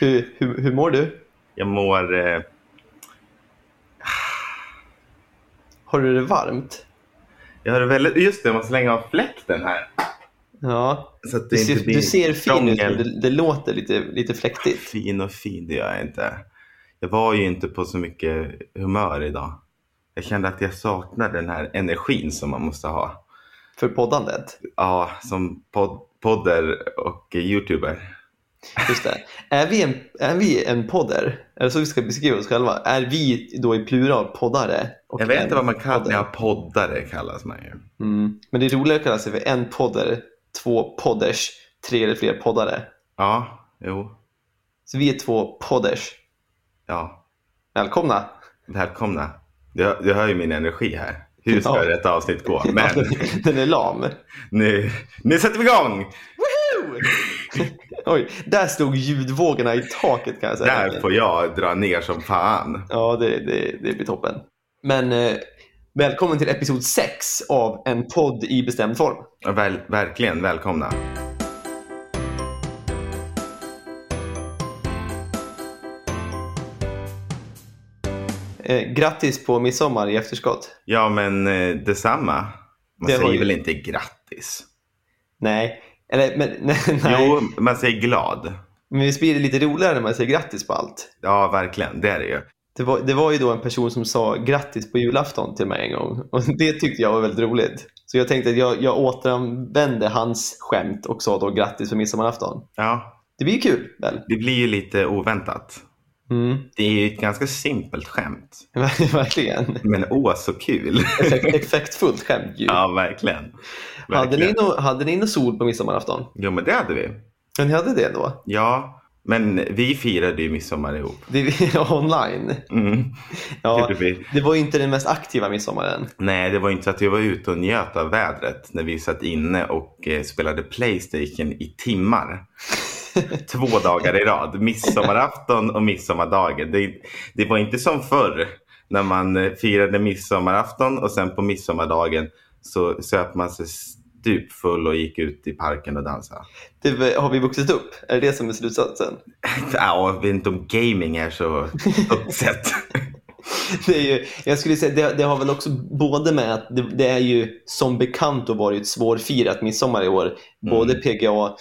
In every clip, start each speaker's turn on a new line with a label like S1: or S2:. S1: hur, hur, hur mår du?
S2: Jag mår... Eh,
S1: Har du det varmt?
S2: jag har det väldigt... Just det, jag måste slänga av fläkten här.
S1: Ja.
S2: Så att det
S1: Du ser,
S2: inte blir
S1: du ser fin ut, men
S2: krångel.
S1: det, det låter lite, lite fläktigt.
S2: Fin och fin, det gör jag inte. Jag var ju inte på så mycket humör idag. Jag kände att jag saknade den här energin som man måste ha.
S1: För poddandet.
S2: Ja, som pod- podder och eh, youtuber.
S1: Just det. Är, vi en, är vi en podder? Är det så vi ska beskriva oss själva? Är vi då i plural poddare? och
S2: Jag vet
S1: en
S2: inte vad man kallar
S1: podder?
S2: ja, poddare kallas man ju.
S1: Mm. Men det är roligare att kalla sig för en podder, två podders, tre eller fler poddare.
S2: Ja, jo,
S1: Så vi är två podders.
S2: ja.
S1: Välkomna!
S2: Välkomna. Du, du hör ju min energi här. Hur
S1: Ja.
S2: ska detta avsnitt gå? Men
S1: Ja, den- Den är lam.
S2: nu, nu sätter vi igång!
S1: Woohoo! Oj, där slog ljudvågorna i taket kan jag säga.
S2: Där får jag dra ner som fan.
S1: Ja, det, det, det blir toppen. Men eh, välkommen till episod 6 av En podd i bestämd form.
S2: Ja, Väl, verkligen välkomna.
S1: Eh, grattis på midsommar i efterskott.
S2: Ja, men eh, detsamma. Man
S1: Det var
S2: säger
S1: ju-
S2: väl inte grattis?
S1: Nej, eller men, nej, nej.
S2: Jo, man säger glad.
S1: men visst blir det lite roligare när man säger grattis på allt?
S2: Ja, verkligen. Det är det ju.
S1: Det var, det var ju då en person som sa grattis på julafton till mig en gång. Och Det tyckte jag var väldigt roligt. Så jag tänkte att jag, jag återanvände hans skämt och sa då grattis på midsommarafton.
S2: Ja,
S1: Det blir ju kul väl?
S2: det blir ju lite oväntat.
S1: Mm.
S2: Det är ju ett ganska simpelt skämt.
S1: Verkligen.
S2: Men åh, så kul.
S1: Effekt, effektfullt skämt ju.
S2: ja, verkligen.
S1: hade, ni
S2: verkligen.
S1: no, hade ni någon sol på midsommarafton?
S2: Jo, men det hade vi.
S1: Ja, ni hade det då?
S2: Ja, men vi firade ju midsommar ihop.
S1: Det, ja, online?
S2: Mm.
S1: Ja,
S2: Gjorde vi.
S1: det var ju inte den mest aktiva midsommaren.
S2: Nej, det var ju inte så att vi var ute och njöt av vädret när vi satt inne och eh, spelade Playstation i timmar. Två dagar i rad. Midsommarafton och midsommardagen. Det, det var inte som förr när man eh, firade midsommarafton och sen på midsommardagen så söp man sig stupfull och gick ut i parken och dansade.
S1: Det, var- har vi vuxit upp? Är det det som är slutsatsen?
S2: Ja, jag vet inte om gaming är så uppsett.
S1: Det är ju, jag skulle säga det, det har väl också både med att det, det är ju som bekant och varit svårfirat midsommar i
S2: Mm.
S1: år. Både PGA,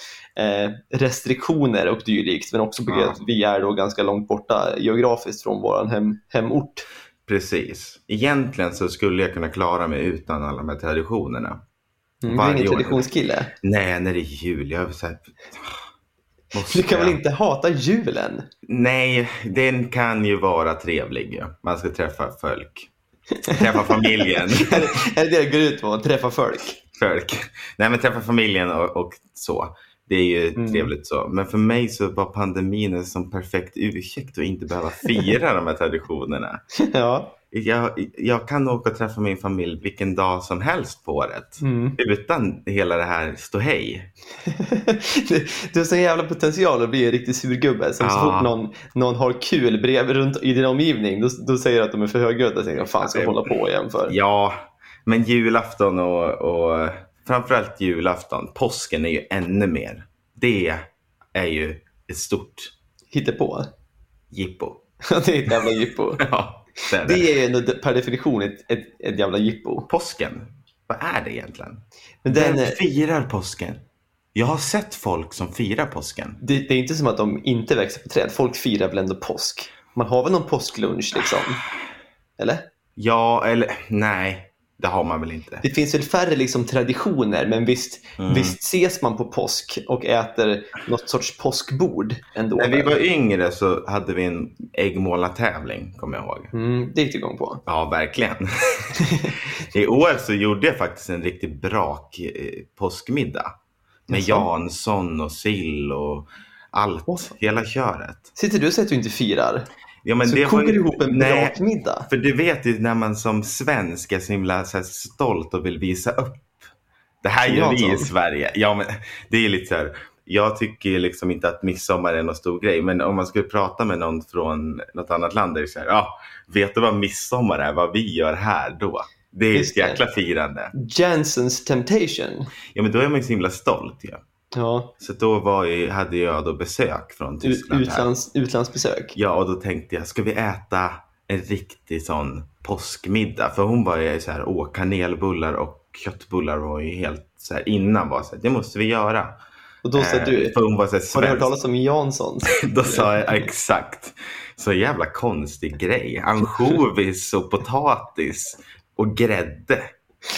S1: eh, restriktioner och dylikt. Men också på grund av att vi är då ganska långt borta geografiskt från vår hem, hemort. Mm,
S2: Precis. Egentligen så skulle jag kunna klara mig utan alla de här traditionerna.
S1: Mm, du är
S2: Varje
S1: ingen
S2: år.
S1: traditionskille.
S2: Nej, när det är jul. Jag är så här... Ah, Måste
S1: Du kan
S2: jag-
S1: väl inte hata julen?
S2: Nej, den kan ju vara trevlig. ja. Man ska träffa folk. Träffa familjen.
S1: är, det, är det det det går ut på? Att träffa folk?
S2: folk. Nej, men träffa familjen och, och så. Det är ju
S1: Mm.
S2: trevligt så. Men för mig så var pandemin en sån perfekt ursäkt att inte behöva fira de här traditionerna.
S1: ja.
S2: Jag, jag kan åka och träffa min familj vilken dag som helst på året.
S1: Mm.
S2: Utan hela det här ståhej.
S1: Du, du har sån jävla potential att bli en riktig surgubbe. Som så
S2: Ja.
S1: fort någon, någon har kul bredvid runt i din omgivning, då, då säger du att de är för högljudda. Jag tänker, vad fan ska jag hålla på igen för?
S2: Ja, men julafton och, och framförallt julafton. Påsken är ju ännu mer. Det är ju ett stort
S1: Hitta på.
S2: jippo.
S1: det är ett jävla jippo.
S2: Ja, det är det.
S1: Det är ju ändå de- per definition ett, ett, ett jävla jippo.
S2: Påsken, vad är det egentligen?
S1: Men den,
S2: Vem
S1: det,
S2: firar påsken? Jag har sett folk som firar påsken.
S1: det är inte som att de inte växer på träd. Folk firar väl ändå påsk? Man har väl någon påsklunch liksom? Eller?
S2: Ja, eller nej, det har man väl inte.
S1: Det finns väl färre liksom traditioner, men visst,
S2: Mm.
S1: visst ses man på påsk och äter något sorts påskbord ändå.
S2: När vi var yngre så hade vi en äggmålartävling, kommer jag ihåg.
S1: mm, det gick du igång på.
S2: Ja, verkligen. I år så gjorde jag faktiskt en riktigt brak eh, påskmiddag. Med
S1: Jaså?
S2: Jansson och sill och allt,
S1: Åh.
S2: hela köret.
S1: Sitter du och säger att du inte firar?
S2: Ja, men
S1: så
S2: det var
S1: kokar
S2: ju-
S1: du ihop en
S2: Nej,
S1: brakmiddag?
S2: för du vet ju när man som svensk är så himla så här, stolt och vill visa upp. Det här
S1: Som
S2: gör vi i
S1: Jansson.
S2: Sverige. Ja, men det är ju lite så här. Jag tycker ju liksom inte att midsommar är någon stor grej, men om man skulle prata med någon från något annat land, är det så här, ja, vet du vad midsommar är, vad vi gör här då? Det är
S1: Just
S2: ett
S1: det.
S2: jäkla firande.
S1: Jansons Temptation.
S2: Ja, men då är man ju så himla stolt. Ja.
S1: Ja,
S2: Så då var jag, hade jag då besök från
S1: u-
S2: Tyskland. här.
S1: utlands, utlandsbesök.
S2: Ja, och då tänkte jag, ska vi äta en riktig sån påskmiddag? För hon var ju så här, åh, kanelbullar och köttbullar var ju helt så här, innan var så här, det måste vi göra.
S1: Och då sa
S2: Eh,
S1: du,
S2: För hon var så här,
S1: har du hört
S2: svensk.
S1: talas om Janssons?
S2: Då sa jag exakt. Så jävla konstig grej. Ansjovis och potatis och grädde.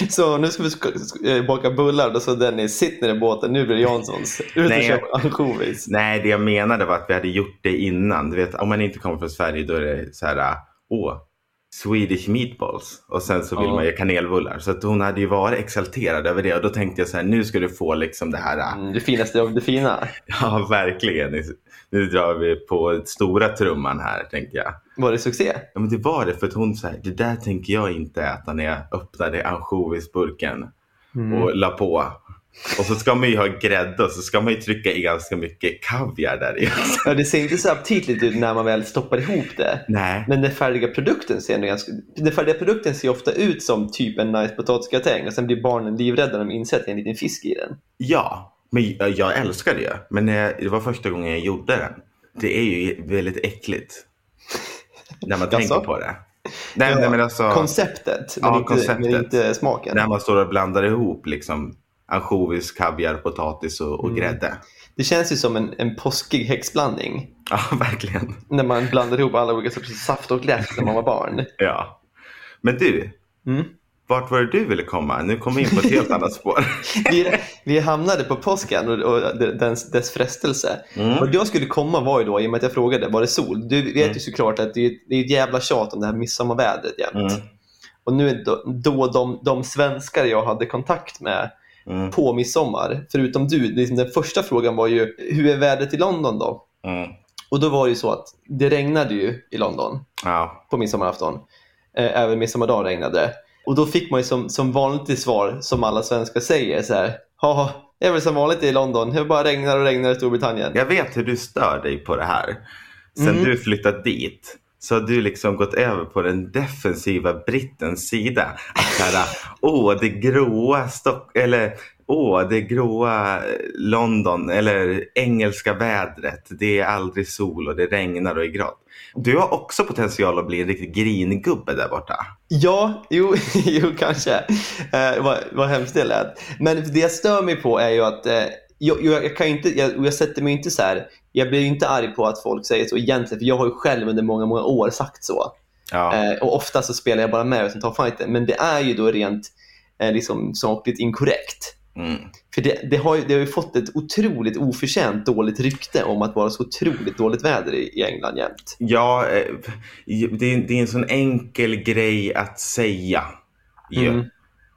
S1: Så nu ska vi sk- sk- eh, baka bullar. Då sa Dennis, sitt ner i båten, nu blir det Janssons. Ut och
S2: Nej,
S1: köp ansjovis.
S2: Nej, det jag menade var att vi hade gjort det innan. Du vet, om man inte kommer från Sverige då är det så här, äh, åh, Swedish meatballs. Och sen så vill
S1: Ja.
S2: man ju kanelbullar. Så att hon hade ju varit exalterad över det. Och då tänkte jag så här, nu ska du få liksom det här,
S1: Mm, det finaste av det fina.
S2: ja verkligen. Nu drar vi på stora trumman här, tänkte jag.
S1: Var det succé?
S2: Ja, men det var det, för att hon så här, det där tänker jag inte äta när jag öppnade ansjovisburken
S1: Mm.
S2: och la på. Och så ska man ju ha grädde och så ska man ju trycka i ganska mycket kaviar där i.
S1: Ja, det ser inte så aptitligt ut när man väl stoppar ihop det.
S2: Nej.
S1: Men den färdiga produkten ser ändå ganska... Den färdiga produkten ser ofta ut som typ en nice potatisgratäng och sen blir barnen livrädda när de inser att det är en liten fisk i den.
S2: Ja, men jag- jag älskar det. Men när jag- det var första gången jag gjorde den. Det är ju väldigt äckligt. När man
S1: Jaså?
S2: tänker på det. Nej, nej men alltså.
S1: Konceptet, men,
S2: Ja,
S1: inte, men
S2: konceptet.
S1: inte smaken.
S2: När man står och blandar ihop liksom ansjovis, kaviar, potatis och,
S1: Mm.
S2: och grädde.
S1: Det känns ju som en, en påskig häxblandning.
S2: Ja, verkligen.
S1: När man blandar ihop alla olika sorters saft och läsk när man var barn.
S2: Ja. Men du,
S1: Mm.
S2: vart var det du ville komma? Nu kom vi in på ett helt annat spår.
S1: vi, vi hamnade på påsken och, och dess, dess frestelse. Och jag skulle komma var ju då, i och med att jag frågade, var det sol? Du vet ju såklart att det är, det är ett jävla tjat om det här midsommarvädret jämt.
S2: Mm.
S1: Och nu är då, då de, de svenskar jag hade kontakt med
S2: Mm.
S1: på midsommar, förutom du, liksom den första frågan var ju, hur är vädret i London då?
S2: Mm.
S1: Och då var det ju så att det regnade ju i London
S2: Ja.
S1: på midsommarafton. Eh, Även midsommardagen regnade det. Och då fick man ju som, som vanligt till svar, som alla svenskar säger, så här. Ja, det är väl som vanligt i London. Det bara regnar och regnar i Storbritannien.
S2: Jag vet hur du stör dig på det här. Sen du flyttat dit så har du liksom gått över på den defensiva brittens sida. Att så här, Åh, det gråa Stock... Eller åh, det gråa London eller engelska vädret. Det är aldrig sol och det regnar och är grått. Du har också potential att bli en riktig gringubbe där borta.
S1: Ja, jo, jo kanske. Eh, vad, vad hemskt det lät. Men det jag stör mig på är ju att eh, jag, jag, jag kan ju inte, jag, och jag sätter mig inte så här, jag blir ju inte arg på att folk säger så egentligen, för jag har ju själv under många, många år sagt så.
S2: Ja.
S1: Eh, och ofta så spelar jag bara med och sen tar fighten. Men det är ju då rent eh, liksom, sakligt inkorrekt.
S2: Mm.
S1: För det, det, har ju, det har ju fått ett otroligt oförtjänt dåligt rykte om att vara så otroligt dåligt väder i, i England jämt.
S2: Ja, eh, det är, det är en sån enkel grej att säga. ju.
S1: Mm.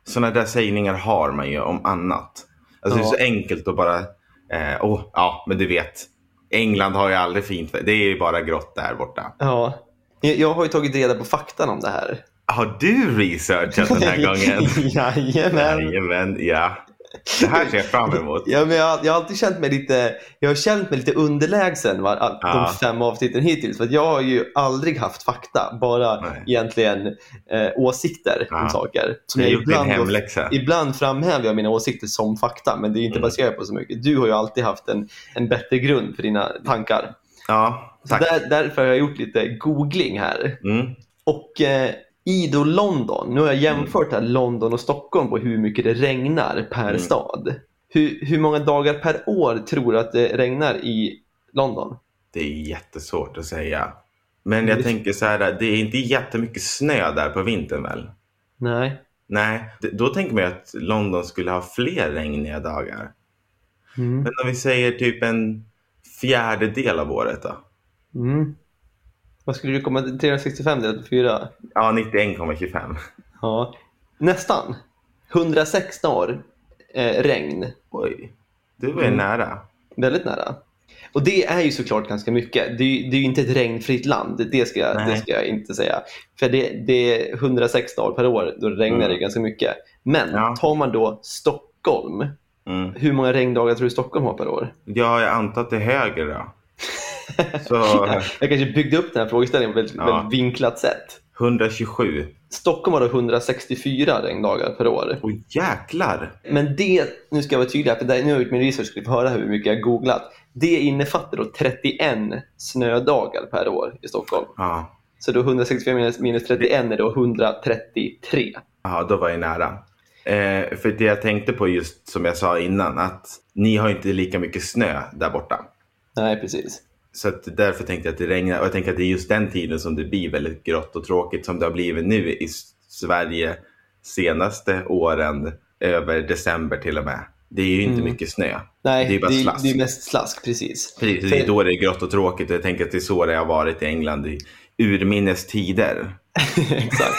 S2: Såna där sägningar har man ju om annat. Alltså
S1: Ja.
S2: Det är så enkelt att bara, eh, oh, ja men du vet. England har ju aldrig fint väder. Det är ju bara grått där borta.
S1: Ja. Jag, jag har ju tagit reda på faktan om det här.
S2: Har du researchat den här gången?
S1: Jajamän.
S2: Jajamän, ja. Det här ser jag fram emot.
S1: Ja, men jag, jag har alltid känt mig lite, jag har känt mig lite underlägsen va, all-
S2: Ja.
S1: de fem avsnitten hittills. För att jag har ju aldrig haft fakta, bara
S2: Nej.
S1: egentligen eh, åsikter om
S2: Ja.
S1: saker.
S2: Du
S1: Som
S2: har
S1: jag
S2: gjort din
S1: ibland, då,
S2: hemläxa.
S1: ibland framhäver jag mina åsikter som fakta, men det är ju inte
S2: Mm.
S1: baserat på så mycket. Du har ju alltid haft en, en bättre grund för dina tankar.
S2: Ja,
S1: Så
S2: tack.
S1: där, därför har jag gjort lite googling här.
S2: Mm.
S1: Och eh, i då London, nu har jag jämfört här London och Stockholm på hur mycket det regnar per
S2: Mm.
S1: stad. Hur, hur många dagar per år tror du att det regnar i London?
S2: Det är jättesvårt att säga. Men
S1: Det-
S2: jag tänker så här, det är inte jättemycket snö där på vintern väl?
S1: Nej.
S2: Nej, d- då tänker man ju att London skulle ha fler regniga dagar.
S1: Mm.
S2: Men om vi säger typ en fjärdedel av året då?
S1: Mm. Vad skulle du komma till? 365 delat på 4?
S2: Ja, 91,25.
S1: Ja. Nästan. 106 dagar eh, regn.
S2: Oj, du var ju
S1: Mm.
S2: nära.
S1: Väldigt nära. Och det är ju såklart ganska mycket. Det är ju, det är ju inte ett regnfritt land, det ska jag,
S2: Nej.
S1: det ska jag inte säga. För det, det är 106 dagar per år, då regnar
S2: Mm.
S1: det ganska mycket. Men
S2: Ja.
S1: tar man då Stockholm,
S2: Mm.
S1: hur många regndagar tror du Stockholm har per år?
S2: Ja, jag antar att det är höger då. Så,
S1: Jag kanske byggde upp den här frågeställningen på ett väldigt,
S2: Ja.
S1: väldigt vinklat sätt.
S2: 127.
S1: Stockholm har då 164 regndagar per år.
S2: Åh jäklar!
S1: Men det, nu ska jag vara tydlig här, för där, nu har jag gjort min research för att höra hur mycket jag googlat. Det innefattar då 31 snödagar per år i Stockholm.
S2: Ja,
S1: Så då 165 minus, minus 31 är då 133.
S2: ja då var jag nära. Eh, för det jag tänkte på just som jag sa innan att ni har inte lika mycket snö där borta.
S1: Nej, precis.
S2: Så att därför tänkte jag att det regnar. Och jag tänker att det är just den tiden som det blir väldigt grått och tråkigt som det har blivit nu i S- Sverige senaste åren över december till och med. Det är ju inte mycket snö.
S1: Nej,
S2: det är bara
S1: det,
S2: slask.
S1: det är mest slask, precis.
S2: Precis, det är då det är grått och tråkigt. Och jag tänker att det är så det har varit i England i urminnes tider.
S1: Exakt.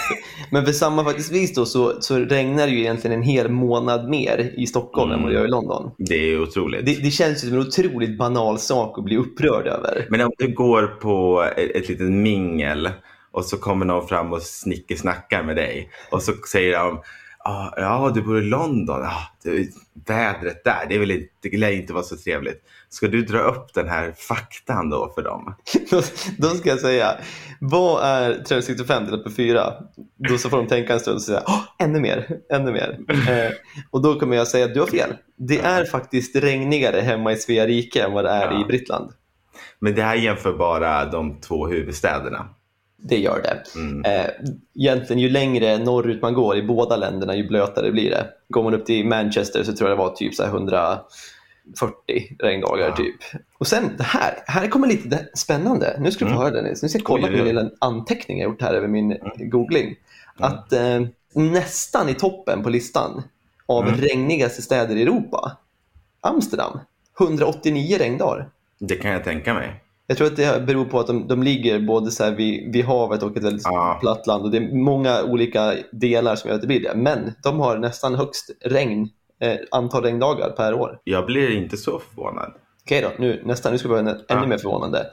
S1: Men för sammanfattningsvis då så, så regnar det ju egentligen en hel månad mer i Stockholm än vad det gör i London.
S2: Det är otroligt.
S1: Det, det känns ju som en otroligt banal sak att bli upprörd över.
S2: Men om du går på ett, ett litet mingel och så kommer någon fram och snickesnackar med dig och så säger de "Ah, Ja, du bor i London. Ah, det, vädret där, det, är väl inte, det lär inte vara så trevligt. Ska du dra upp den här faktan då för dem?
S1: Då, då ska jag säga, vad är 365 delat på 4? Då så får de tänka en stund och säga, "Åh, ännu mer, ännu mer. Eh, och då kommer jag säga att du har fel. Det är faktiskt regnigare hemma i Svea rike än vad det är
S2: Ja.
S1: i Brittland.
S2: Men det här jämför bara de två huvudstäderna.
S1: Det gör det.
S2: Mm.
S1: Eh, egentligen ju längre norrut man går i båda länderna ju blötare blir det. Går man upp till Manchester så tror jag det var typ så här 140 regndagar
S2: Ja.
S1: typ. Och sen det här, här kommer lite det- spännande. Nu ska du få höra Dennis. Nu ska jag kolla
S2: Mm. Oj,
S1: på min
S2: oj, Mm. oj.
S1: lilla anteckning jag gjort här över min googling. Att eh, nästan i toppen på listan av
S2: Mm.
S1: regnigaste städer i Europa, Amsterdam, 189 regndagar.
S2: Det kan jag tänka mig.
S1: Jag tror att det beror på att de, de ligger både så här vid, vid havet och ett väldigt
S2: Ja.
S1: platt land. Och det är många olika delar som gör att det blir det. Men de har nästan högst regn, eh, antal regndagar per år.
S2: Jag blir inte så förvånad.
S1: Okej då, nu, nästan, nu ska vi vara ännu
S2: Ja.
S1: mer förvånande.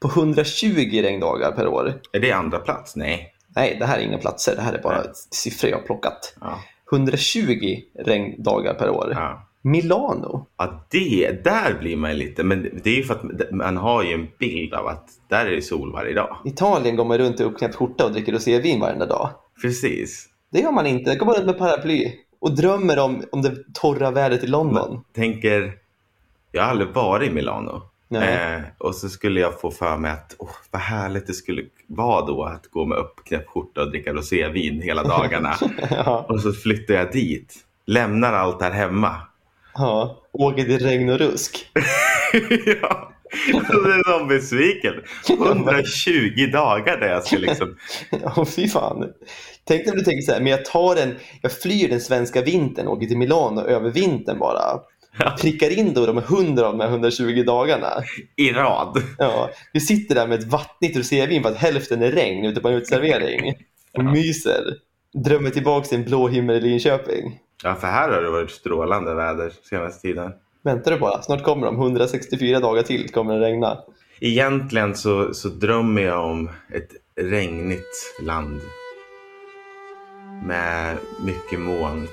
S1: På 120 regndagar per år.
S2: Är det andra plats? Nej.
S1: Nej, det här är inga platser. Det här är bara
S2: Nej.
S1: siffror jag har plockat.
S2: Ja.
S1: 120 regndagar per år.
S2: Ja.
S1: Milano.
S2: Ja, det, där blir man lite, men det är ju för att man har ju en bild av att där är det sol varje dag.
S1: Italien går man runt i uppknäppt skjorta och dricker rosévin varenda dag.
S2: Precis.
S1: Det gör man inte. Då går man runt med paraply och drömmer om, om det torra vädret i London.
S2: Tänker, jag har aldrig varit i Milano.
S1: Nej.
S2: Eh, och så skulle jag få för mig att, åh, vad härligt det skulle vara då att gå med uppknäppt skjorta och dricka rosévin hela dagarna.
S1: ja,
S2: och så flyttar jag dit, lämnar allt här hemma.
S1: ja. Åker till regn och rusk.
S2: ja. Och Det är en sån besviken. 120 dagar där jag ska liksom,
S1: Ja, fy fan. Tänk om du tänker så här, men jag tar en, jag flyr den svenska vintern och åker till Milano över vintern bara. Prickar in då de 100 av de här 120 dagarna.
S2: i rad.
S1: Ja, du sitter där med ett vattnigt rosévin för att hälften är regn ute på en uteservering och myser. Drömmer tillbaka till en blå himmel i Linköping.
S2: Ja, för här har det varit strålande väder senaste tiden.
S1: Väntar du bara, snart kommer de. 164 dagar till kommer det regna.
S2: Egentligen så, så drömmer jag om ett regnigt land med mycket moln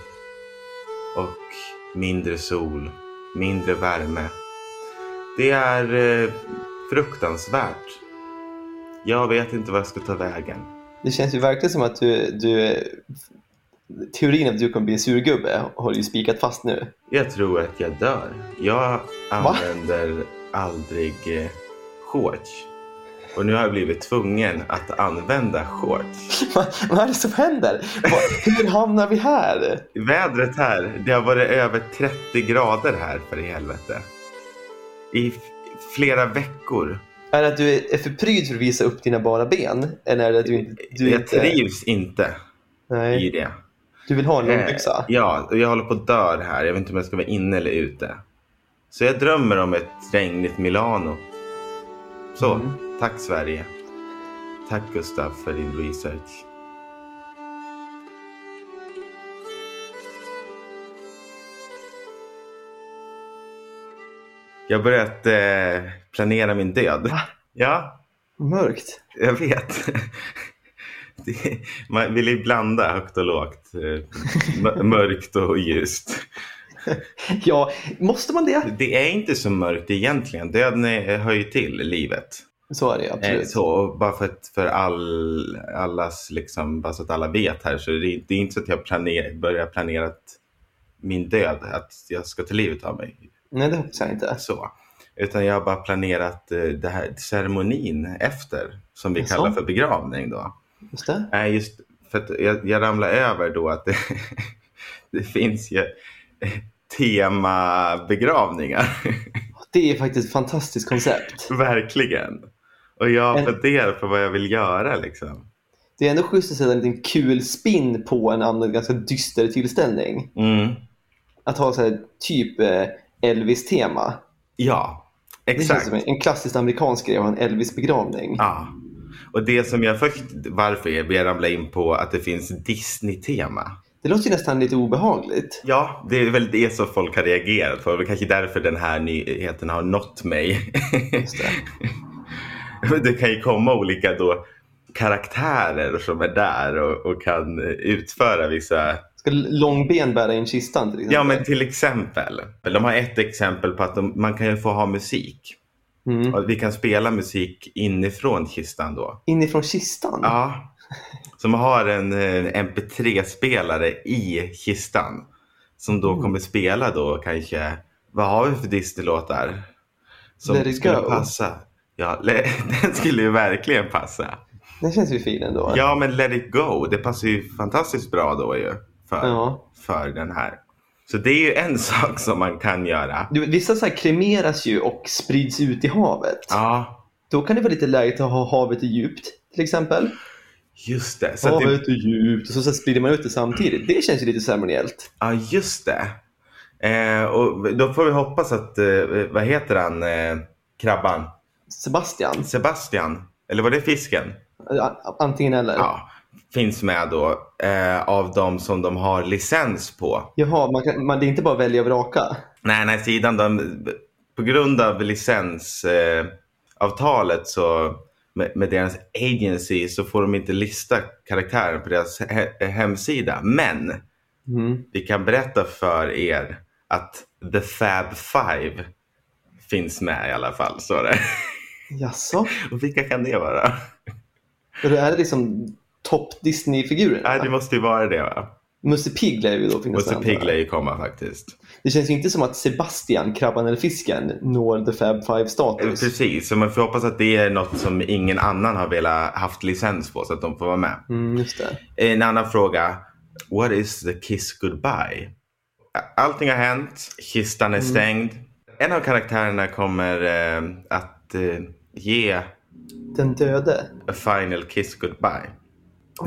S2: och mindre sol, mindre värme. Det är eh, fruktansvärt. Jag vet inte vad jag ska ta vägen.
S1: Det känns ju verkligen som att du, du teorin om att du kommer bli en surgubbe har du ju spikat fast nu.
S2: Jag tror att jag dör. Jag använder aldrig eh, shorts. Och nu har jag blivit tvungen att använda shorts.
S1: Vad, vad är det som händer? Vad, hur hamnar vi här?
S2: Vädret här, det har varit över 30 grader här för i helvete. I f- flera veckor.
S1: Är det att du är för pryd för att visa upp dina bara ben? Eller är det att du, inte- du
S2: jag
S1: inte...
S2: trivs inte i
S1: Nej,
S2: det.
S1: du vill ha en
S2: Eh,
S1: långbyxa?
S2: Ja, och jag håller på att dö här. Jag vet inte om jag ska vara inne eller ute. Så jag drömmer om ett regnigt Milano. Så,
S1: Mm.
S2: tack Sverige. Tack Gustav för din research. Jag har börjat eh, planera min död. Ja,
S1: Mörkt.
S2: jag vet. Det, man vill ju blanda högt och lågt. eh, mö- Mörkt och ljust.
S1: Ja, måste man det?
S2: Det är inte så mörkt egentligen. Döden är- hör ju till livet.
S1: Så är det
S2: Eh,
S1: absolut.
S2: Så, och bara för, att, för all, allas, liksom, bara så att alla vet här, så det är, det är inte så att jag planer, börjar planera att min död, att jag ska ta livet av mig.
S1: Nej, det hoppas jag inte.
S2: Så. Utan jag har bara planerat eh, det här ceremonin efter, som vi
S1: Jaså?
S2: kallar för begravning. Då.
S1: Just det.
S2: Nej, just för att jag, jag ramlade över då att det, det finns ju temabegravningar.
S1: det är faktiskt ett fantastiskt koncept.
S2: Verkligen. Och jag
S1: En-
S2: funderar på vad jag vill göra. Liksom.
S1: Det är ändå schysst att sätta en liten kul spin på en annan ganska dyster tillställning.
S2: Mm.
S1: Att ha så här, typ eh, Elvis-tema.
S2: Ja,
S1: Det känns
S2: exakt.
S1: som en- en klassiskt amerikansk grej att ha en Elvis-begravning.
S2: Ja. Och det som jag först, varför jag jag ramlade in på att det finns Disney-tema.
S1: Det låter ju nästan lite obehagligt.
S2: Ja, det är väl det som folk har reagerat på. Det är kanske därför den här nyheten har nått mig.
S1: Just det.
S2: det kan ju komma olika då karaktärer som är där och, och kan utföra vissa...
S1: Ska långben bära in kistan till exempel?
S2: Ja, men till exempel. De har ett exempel på att de, man kan ju få ha musik.
S1: Mm.
S2: Och vi kan spela musik inifrån kistan då.
S1: Inifrån kistan?
S2: Ja, som har en eh, mp3-spelare i kistan. Som
S1: Mm.
S2: då kommer spela då kanske, vad har vi för Disney-låtar? Som
S1: Let it
S2: skulle
S1: go.
S2: passa. Ja, le- den skulle ju verkligen passa.
S1: Det känns ju fin ändå.
S2: Ja, men Let it go, det passar ju fantastiskt bra då ju. För,
S1: Ja.
S2: för den här. Så det är ju en sak som man kan göra.
S1: Du, vissa så här kremeras ju och sprids ut i havet.
S2: Ja,
S1: Då kan det vara lite läget att ha havet i djupt till exempel.
S2: just det. Så att det
S1: havet är djupt och så, så här sprider man ut det samtidigt. Det känns ju lite ceremoniellt.
S2: Ja, just det. Eh, och då får vi hoppas att, eh, vad heter han, eh, krabban?
S1: Sebastian,
S2: Sebastian, eller var det fisken?
S1: a- antingen eller.
S2: Ja, finns med då eh, av de som de har licens på.
S1: Jaha, man kan, man, det är inte bara välja och vraka.
S2: Nej, nej, sidan de, på grund av licensavtalet eh, avtalet så med, med deras agency så får de inte lista karaktären på deras he- hemsida. Men
S1: Mm.
S2: vi kan berätta för er att The Fab Five finns med i alla fall. Så det.
S1: Jaså?
S2: Och vilka kan det vara?
S1: Och då är det liksom topp Disney-figurerna?
S2: Nej, det måste ju vara det va?
S1: Musse Pigg lär ju då finnas
S2: Musse
S1: där.
S2: Pigg lär ju komma faktiskt.
S1: Det känns ju inte som att Sebastian, krabban eller fisken når the fab five-status.
S2: Precis, så man får hoppas att det är något som ingen annan har velat haft licens på så att de får vara med.
S1: Mm, just det.
S2: Eh, En annan fråga. What is the kiss goodbye? Allting har hänt. Kistan är stängd. En av karaktärerna kommer eh, att eh, ge
S1: Den döde.
S2: A Final Kiss Goodbye.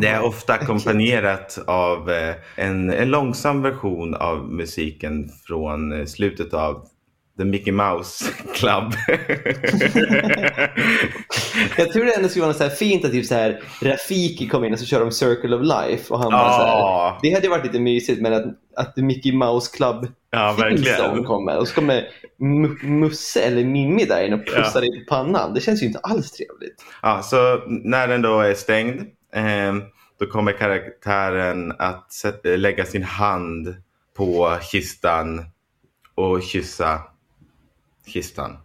S2: Det är ofta ackompanjerat av eh, en, en långsam version av musiken från eh, slutet av The Mickey Mouse Club.
S1: Jag tror det ändå skulle vara något så här fint att typ så här, Rafiki kom in och så kör de Circle of Life. Och han bara så här,
S2: Ja.
S1: det hade ju varit lite mysigt men att, att Mickey Mouse Club
S2: ja,
S1: Simpson
S2: verkligen.
S1: kommer och så kommer M- Musse eller Mimmi där inne och pussar
S2: Ja.
S1: dig på pannan. Det känns ju inte alls trevligt.
S2: Ja, så när den då är stängd eh, då kommer karaktären att sätta, lägga sin hand på kistan och kyssa kistan.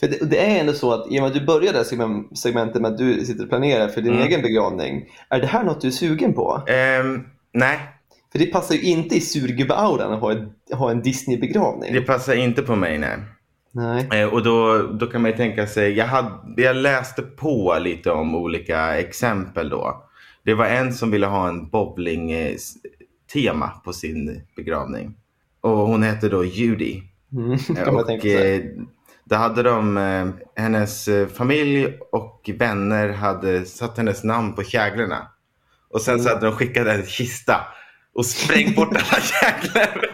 S1: För det, det är ändå så att i och med att du börjar det här segmen- segmentet med att du sitter och planerar för din
S2: Mm.
S1: egen begravning. Är det här något du är sugen på?
S2: Ehm, nej,
S1: För det passar ju inte i surgubbe-auran att ha, en- ha en Disney-begravning.
S2: det passar inte på mig. Nej.
S1: Nej.
S2: Eh, Och då, då kan man ju tänka sig, jag, hade, jag läste på lite om olika exempel då. Det var en som ville ha en bowling-tema på sin begravning. Och hon hette då Judy.
S1: Mm, kan
S2: Eh,
S1: man
S2: Och
S1: tänka sig.
S2: eh, då hade de, eh, hennes eh, familj och vänner hade satt hennes namn på käglorna. Och sen
S1: Mm.
S2: så hade de skickat en kista och sprängt bort alla käglor.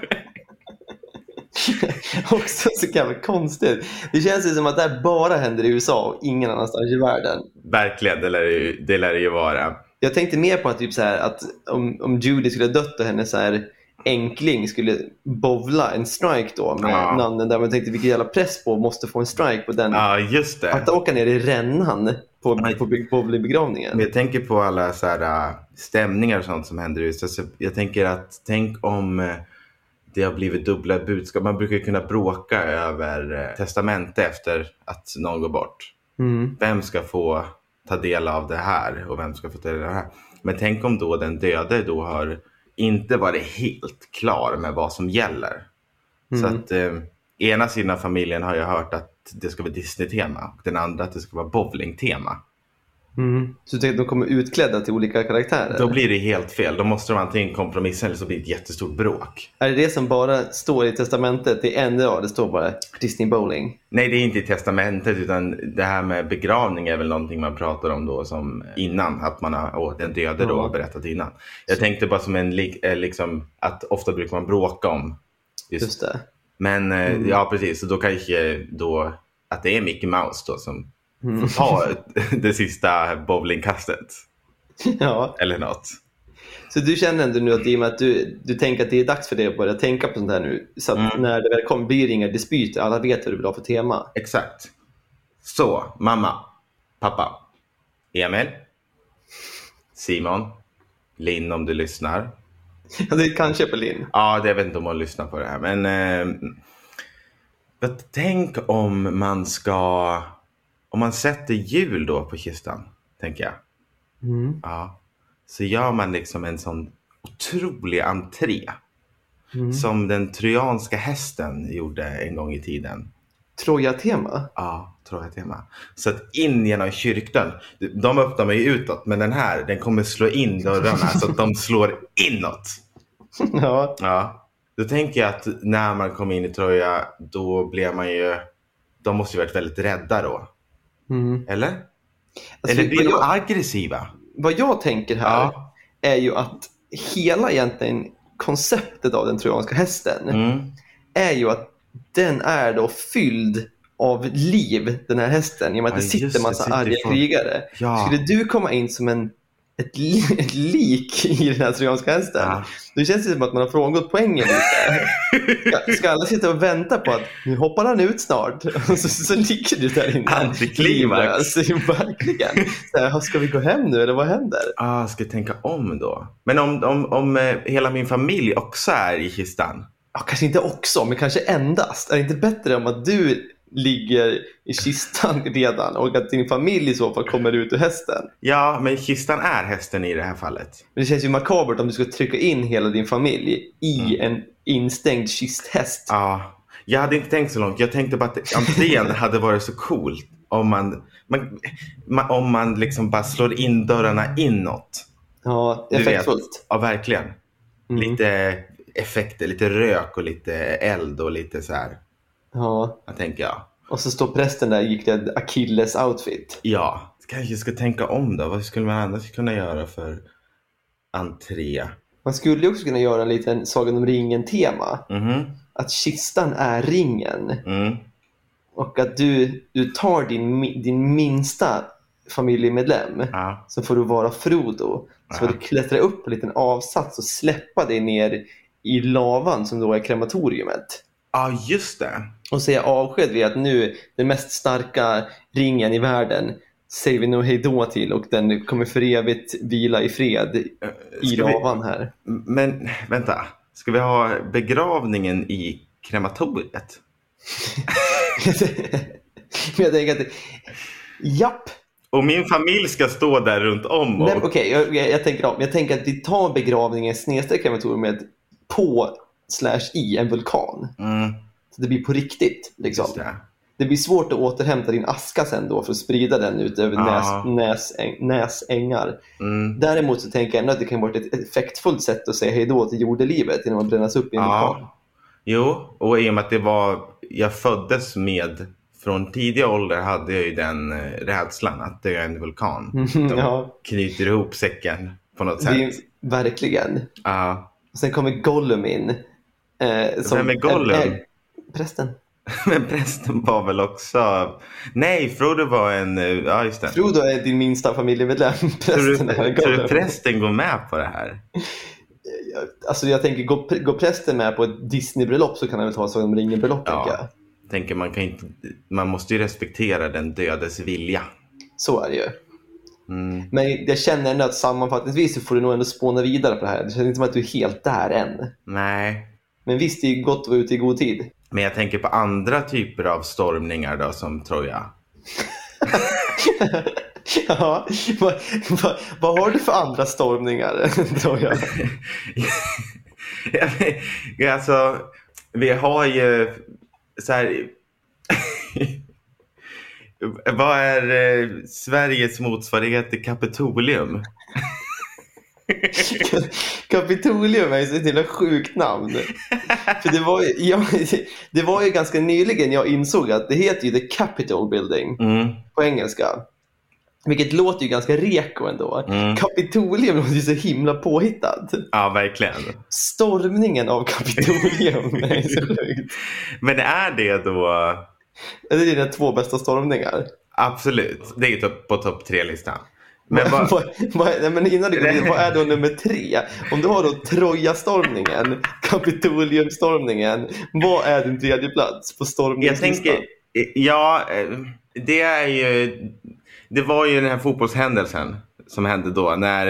S1: Också så jävla konstigt. Det känns ju som att det här bara händer i USA och ingen annanstans i världen.
S2: Verkligen, det lär, det ju, det lär det ju vara.
S1: Jag tänkte mer på att, typ så här, att om, om Judy skulle ha dött och hennes så här enkling skulle bovla en strike då med
S2: Ja.
S1: namnen där. Man tänkte vilken jävla press på måste få en strike på den.
S2: Ja, just det.
S1: Att åka ner i rännan på,
S2: Nej.
S1: på big- bowlingbegravningen.
S2: Men jag tänker på alla så här, äh, stämningar och sånt som händer i USA. Så jag tänker att tänk om eh, det har blivit dubbla budskap. Man brukar ju kunna bråka över eh, testamente efter att någon går bort.
S1: Mm.
S2: Vem ska få ta del av det här och vem ska få ta del av det här? Men tänk om då den döde då har inte varit helt klar med vad som gäller. Så
S1: Mm.
S2: att eh, ena sidan av familjen har jag hört att det ska vara Disney-tema och den andra att det ska vara bowling-tema.
S1: Mm. Så du tänker att de kommer utklädda till olika karaktärer?
S2: Då blir det helt fel. Då måste de antingen kompromissa eller så blir det ett jättestort bråk.
S1: Är det det som bara står i testamentet? Det är en rad, det står bara Disney Bowling.
S2: Nej, det är inte i testamentet utan det här med begravning är väl någonting man pratar om då som innan, att man har, åh, den döde då
S1: Ja.
S2: har berättat innan. Jag tänkte bara som en, lik- eh, liksom, att ofta brukar man bråka om just,
S1: Just det.
S2: Men eh,
S1: Mm.
S2: ja, precis, så då kanske då att det är Mickey Mouse då som
S1: Mm.
S2: får ta det sista bowlingkastet
S1: Ja.
S2: eller något.
S1: Så du känner ändå nu att i och med att du, du tänker att det är dags för dig att börja tänka på sånt här nu. Så att
S2: Mm.
S1: när det väl kommer blir det inga dispyter. Alla vet vad du vill ha för tema.
S2: Exakt. Så, mamma, pappa, Emil, Simon, Linn om du lyssnar.
S1: Ja, det kanske är Berlin.
S2: Ja, det jag vet inte om hon lyssnar på det här, men... Eh, men tänk om man ska... Om man sätter jul då på kistan, tänker jag.
S1: Mm.
S2: Ja. Så gör man liksom en sån otrolig entré.
S1: Mm.
S2: Som den trojanska hästen gjorde en gång i tiden.
S1: Troja-tema?
S2: Ja, Troja-tema. Så att in genom kyrkdörren. De öppnar man ju utåt, men den här den kommer slå in dörrarna så att de slår inåt.
S1: ja.
S2: Ja. Då tänker jag att när man kom in i Troja, då blev man ju... De måste ju varit väldigt rädda då.
S1: Mm.
S2: Eller?
S1: Alltså,
S2: Eller blir
S1: vad,
S2: de
S1: jag,
S2: aggressiva?
S1: vad jag tänker här
S2: Ja.
S1: är ju att hela egentligen konceptet av den trojanska hästen
S2: Mm.
S1: är ju att den är då fylld av liv, den här hästen, i och med att
S2: Ja,
S1: det sitter
S2: just det,
S1: massa
S2: sitter
S1: arga
S2: folk.
S1: krigare.
S2: Ja.
S1: Skulle du komma in som en, ett, li, ett lik i den här trojanska hästen,
S2: Ja.
S1: då känns det som att man har frångått poängen lite. Ska, ska alla sitta och vänta på att nu hoppar han ut snart? Och så, så ligger du där inne.
S2: Antiklimax.
S1: Livlös, Verkligen. Så här, ska vi gå hem nu eller vad händer?
S2: Ah, ska jag tänka om då? Men om, om, om eh, hela min familj också är i kistan?
S1: Ja, kanske inte också, men kanske endast. Är det inte bättre om att du ligger i kistan redan och att din familj i så fall kommer ut ur hästen?
S2: Ja, men kistan är hästen i det här fallet.
S1: Men det känns ju makabert om du ska trycka in hela din familj i en instängd kisthäst.
S2: Mm. Ja, jag hade inte tänkt så långt. Jag tänkte bara att entrén hade varit så cool om man, man, man, om man liksom bara slår in dörrarna inåt.
S1: Ja,
S2: Du vet.
S1: effektfullt.
S2: Ja, verkligen.
S1: Mm.
S2: Lite effekter, lite rök och lite eld och lite så här.
S1: Ja.
S2: Jag tänker jag.
S1: Och så står prästen där i iklädd Achilles outfit.
S2: Ja, kanske ska tänka om då. Vad skulle man annars kunna göra för entré?
S1: Man skulle ju också kunna göra en liten Sagan om ringen-tema.
S2: Mhm.
S1: Att kistan är ringen.
S2: Mm.
S1: Och att du, du tar din, mi- din minsta familjemedlem.
S2: Ja.
S1: så får du vara Frodo. Så får du klättra upp på en liten avsats och släppa dig ner i lavan som då är krematoriumet.
S2: Ja, just det.
S1: Och säga avsked vid att nu, den mest starka ringen i världen säger vi nu hejdå till och den kommer för evigt vila i fred i
S2: Eh, Ska vi-
S1: lavan här.
S2: Men vänta, ska vi ha begravningen i krematoriet?
S1: Men jag tänker att, japp,
S2: Och min familj ska stå där runt om och...
S1: Nej, okej, jag, jag, jag tänker om. Jag tänker att vi tar begravningen snedstreck krematoriumet på slash i en vulkan.
S2: Mm,
S1: Så det blir på riktigt. Liksom.
S2: just det.
S1: Det blir svårt att återhämta din aska sen då för att sprida den ut över
S2: Ja.
S1: näs, näsäng, näsängar.
S2: Mm.
S1: Däremot så tänker jag ändå att det kan vara ett effektfullt sätt att säga hej då till jordelivet genom att brännas upp i en vulkan.
S2: Ja. Jo, och i och med att det var, jag föddes med, från tidig ålder hade jag ju den eh, rädslan att dö i en vulkan.
S1: Mhm, ja.
S2: Knyter ihop säcken på något
S1: Det är
S2: sätt.
S1: ju, verkligen.
S2: Ja.
S1: Och sen kommer Gollum in. Eh,
S2: Vem är Gollum?
S1: eh, prästen.
S2: Men prästen var väl också... Nej, Frodo var en... eh, Ja, just det.
S1: Frodo är din minsta familjemedlem.
S2: Tror du,
S1: Prästen är
S2: tror
S1: Gollum.
S2: du prästen går med på det här?
S1: Alltså jag tänker, går, går prästen med på ett Disney-bröllop så kan han väl ta Sagan om ringen-bröllop.
S2: Ja.
S1: tänker jag.
S2: Tänker man, kan inte, man måste ju respektera den dödes vilja.
S1: Så är det ju.
S2: Mm.
S1: Men jag känner ändå att sammanfattningsvis så får du nog ändå spåna vidare på det här. Det känns inte som att du är helt där än.
S2: Nej.
S1: Men visst, det är gott att vara ute i god tid.
S2: Men jag tänker på andra typer av stormningar då, som Troja.
S1: ja, vad, vad, vad har du för andra stormningar? tror jag?
S2: Ja, men, alltså, vi har ju så här. Vad är eh, Sveriges motsvarighet till Kapitolium?
S1: Kapitolium är ju så ett jävla sjukt namn. För det, var ju, ja, det var ju ganska nyligen jag insåg att det heter ju The Capitol Building
S2: Mm.
S1: på engelska. Vilket låter ju ganska reko ändå.
S2: Mm.
S1: Kapitolium låter ju så himla påhittat.
S2: Ja, verkligen.
S1: Stormningen av Kapitolium är ju så sjukt.
S2: Men är det då...
S1: Det är dina två bästa stormningar.
S2: Absolut, det är ju topp- på topp tre-listan. Men vad,
S1: vad, vad, nej, men innan du går in, vad är då nummer tre? Om du har då Trojastormningen, Kapitoliumstormningen, vad är din tredje plats på
S2: jag
S1: stormningslistan?
S2: tänker... Ja, eh, det är ju... Det var ju den här fotbollshändelsen som hände då när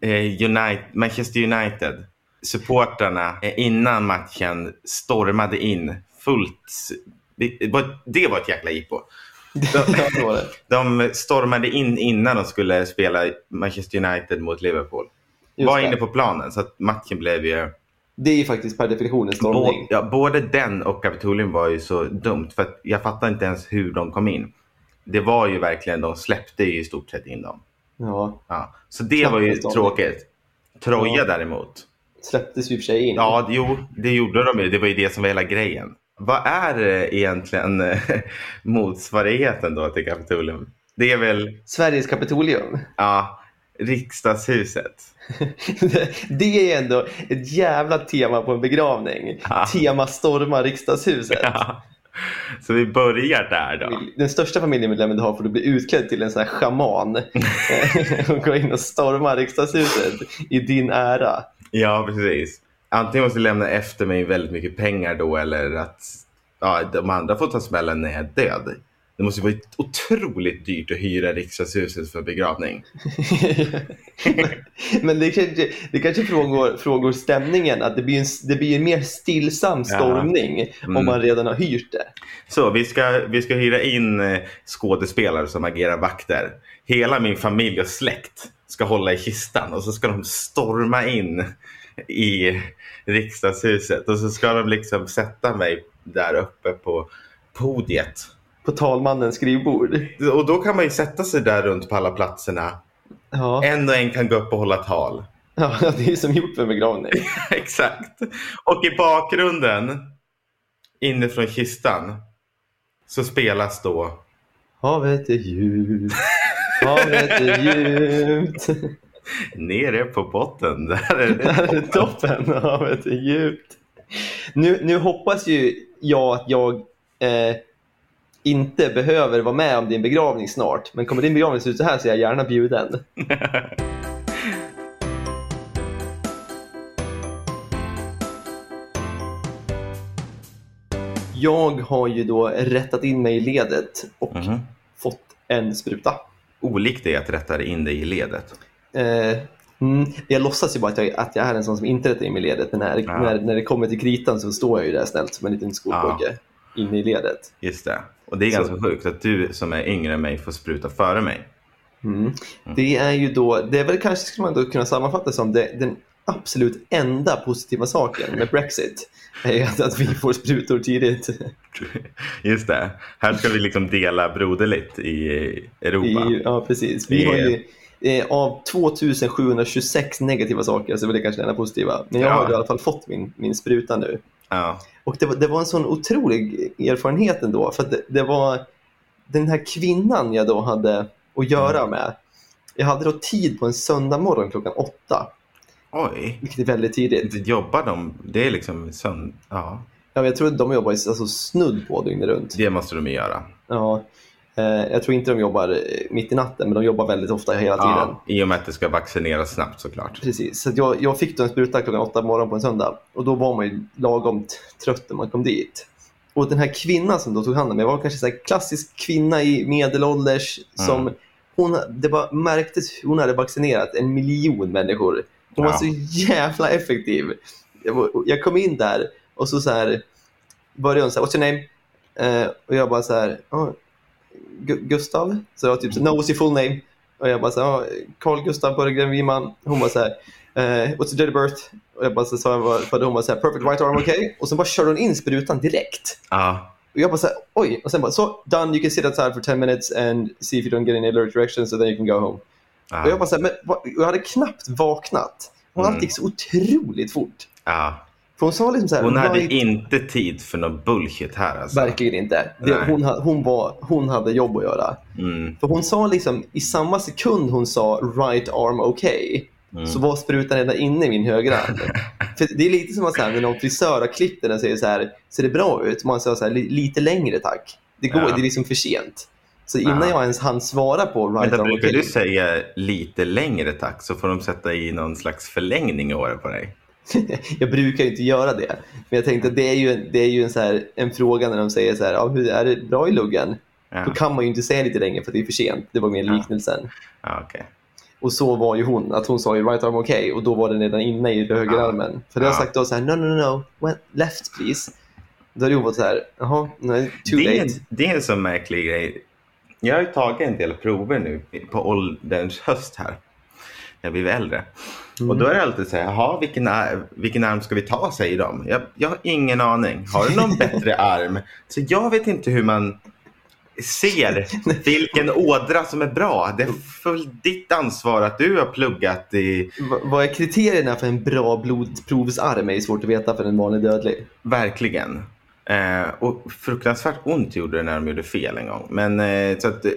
S2: eh, Unite, Manchester United supportrarna eh, innan matchen stormade in fullt. s- Det var, det var ett jäkla jippo.
S1: Ja, det var det.
S2: De stormade in innan de skulle spela Manchester United mot Liverpool.
S1: Just
S2: var
S1: det.
S2: inne på planen så att matchen blev ju...
S1: Det är ju faktiskt per definition en
S2: Både,
S1: stormning.
S2: ja, både den och Kapitolium var ju så dumt för att jag fattar inte ens hur de kom in. Det var ju verkligen, de släppte ju i stort sett in dem.
S1: Ja,
S2: Ja. Så det
S1: Knappt
S2: var ju
S1: en stormning.
S2: tråkigt. Troja
S1: Ja.
S2: däremot.
S1: släpptes ju i och för sig in.
S2: Ja, det- jo, det gjorde de ju. Det var ju det som var hela grejen. Vad är eh, egentligen eh, motsvarigheten då till Kapitolium? Det är väl
S1: Sveriges Kapitolium.
S2: ja, riksdagshuset.
S1: Det är ändå ett jävla tema på en begravning.
S2: Ja.
S1: Tema storma riksdagshuset.
S2: Ja. Så vi börjar där då.
S1: Den största familjemedlemmen du har får du bli utklädd till en sån här schaman eh, och gå in och storma riksdagshuset i din ära.
S2: Ja, precis. Antingen måste jag lämna efter mig väldigt mycket pengar då eller att ja, de andra får ta smällen när jag är död. Det måste ju vara otroligt dyrt att hyra riksdagshuset för begravning.
S1: Men det kanske, det kanske frågar, frågar stämningen att det blir en, det blir en mer stillsam stormning om
S2: Mm.
S1: man redan har hyrt det.
S2: Så vi ska, vi ska hyra in eh, skådespelare som agerar vakter. Hela min familj och släkt ska hålla i kistan och så ska de storma in i riksdagshuset och så ska de liksom sätta mig där uppe på podiet.
S1: På talmannens skrivbord.
S2: Och då kan man ju sätta sig där runt på alla platserna.
S1: Ja,
S2: En och en kan gå upp och hålla tal.
S1: ja det är ju som gjort för en begravning.
S2: Exakt. Och i bakgrunden, inifrån kistan, så spelas då...
S1: Havet är djupt, havet är djupt.
S2: Nere på botten, där är
S1: Det här
S2: det.
S1: är toppen. Havet är djupt. Nu, nu hoppas ju jag att jag eh, inte behöver vara med om din begravning snart. Men kommer din begravning se ut så här så är jag gärna bjuden. Jag har ju då rättat in mig i ledet och
S2: Mhm.
S1: fått en spruta.
S2: Olikt det att rätta in dig i ledet.
S1: Eh, mm, jag låtsas ju bara att jag, att jag är en sån som inte rättar in mig i ledet. Men när,
S2: Ja.
S1: när, när det kommer till kritan så står jag ju där snällt som en liten skolpojke inne i ledet.
S2: Just det. Och det är ganska sjukt att du som är yngre än mig får spruta före mig.
S1: Mm. Det är ju då, det är väl kanske skulle man då kunna sammanfatta som det, den absolut enda positiva saken med Brexit. Är ju att, att vi får sprutor tidigt
S2: Just det. Här ska vi liksom dela broderligt i
S1: i
S2: Europa.
S1: EU. Ja, precis. Vi
S2: Det-
S1: har ju, eh, av 2726 negativa saker så var det kanske den enda positiva. Men jag
S2: Ja.
S1: har i alla fall fått min, min spruta nu.
S2: Ja.
S1: Och det var, det var en sån otrolig erfarenhet ändå. För att det, det var den här kvinnan jag då hade att göra med. Jag hade då tid på en söndag morgon klockan åtta,
S2: Oj.
S1: vilket är väldigt tidigt.
S2: Inte Jobbar de? Det är liksom sönd... Ja,
S1: Ja, men jag tror att de jobbar alltså, snudd på dygnet runt.
S2: det måste de ju göra.
S1: Ja. Eh, Jag tror inte de jobbar eh, mitt i natten, men de jobbar väldigt ofta hela tiden.
S2: Ja, I och med att det ska vaccineras snabbt såklart.
S1: Precis, så att jag, jag fick då en spruta klockan åtta på morgonen på en söndag och då var man ju lagom t- trött när man kom dit. Och den här kvinnan som då tog hand om mig var kanske så här klassisk kvinna i medelålders som hon, det bara märktes, hon hade vaccinerat en miljon människor. Hon var
S2: Ja.
S1: så jävla effektiv. Jag, var, jag kom in där och så, så här, började hon så här, what's your name? Eh, och jag bara så här, "Oh, Gu- Gustav. Så det var typ så, no is your full name. Och jag bara så här, "Ja, Carl Gustav Berggren Wiman. Hon bara så här, eh, what's your date of birth? Och jag bara så sa jag vad, vad hon bara så här, perfect right arm, okay? Och sen bara körde hon in sprutan direkt.
S2: Ja,
S1: Och jag bara så här, oj. Och sen bara, so done, you can sit outside for 10 minutes and see if you don't get any alert reactions so then you can go home.
S2: ja,
S1: Och jag bara så här, men vad- och jag hade knappt vaknat. Hon
S2: Mm.
S1: allt gick så otroligt fort.
S2: ja.
S1: För hon sa liksom så här,
S2: Hon hade
S1: right-
S2: inte tid för någon bullshit här alltså.
S1: verkligen inte. Det,
S2: Nej.
S1: hon, ha- hon, var, hon hade jobb att göra.
S2: Mm,
S1: För hon sa liksom, i samma sekund hon sa right arm okay,
S2: mm.
S1: så var sprutan redan inne i min högra arm. För det är lite som att så här, när någon frisör har klippt den och säger så här, ser det bra ut? Man säger så här, "Li- lite längre tack. Det, går,
S2: Ja.
S1: det är liksom för sent. Så innan
S2: Ja.
S1: jag ens hann svara på right
S2: Vänta,
S1: arm
S2: brukar du
S1: okay.
S2: säga lite längre tack så får de sätta i någon slags förlängning i håret på dig?
S1: Jag brukar ju inte göra det. Men jag tänkte att det är ju, en- det är ju en, så här, en fråga när de säger så här, ja, hur är det bra i luggen?
S2: Ja,
S1: Då kan man ju inte säga lite längre för att det är för sent. Det var mer
S2: Ja.
S1: liknelsen.
S2: ja okej.
S1: Och så var ju hon, att hon sa ju right arm okay och då var den redan inne i högerarmen. För det har
S2: Ja.
S1: sagt då så här, no, no, no, no, When, left please. Då hade hon varit så här, jaha, nej, too
S2: det, är,
S1: late.
S2: det är en sån märklig grej. Jag har ju tagit en del prover nu på ålderns höst här. Jag blir äldre. Och då är
S1: Mm.
S2: det alltid så här, jaha, vilken, ar- vilken arm ska vi ta, säger de. Jag, jag har ingen aning. Har du någon bättre arm? Så jag vet inte hur man ser vilken ådra som är bra. Det är full ditt ansvar att du har pluggat i
S1: Va- Vad är kriterierna för en bra blodprovsarm? är ju svårt att veta för en vanlig dödlig.
S2: Verkligen. Eh, och fruktansvärt ont gjorde det när de gjorde fel en gång. Men eh, så att, eh,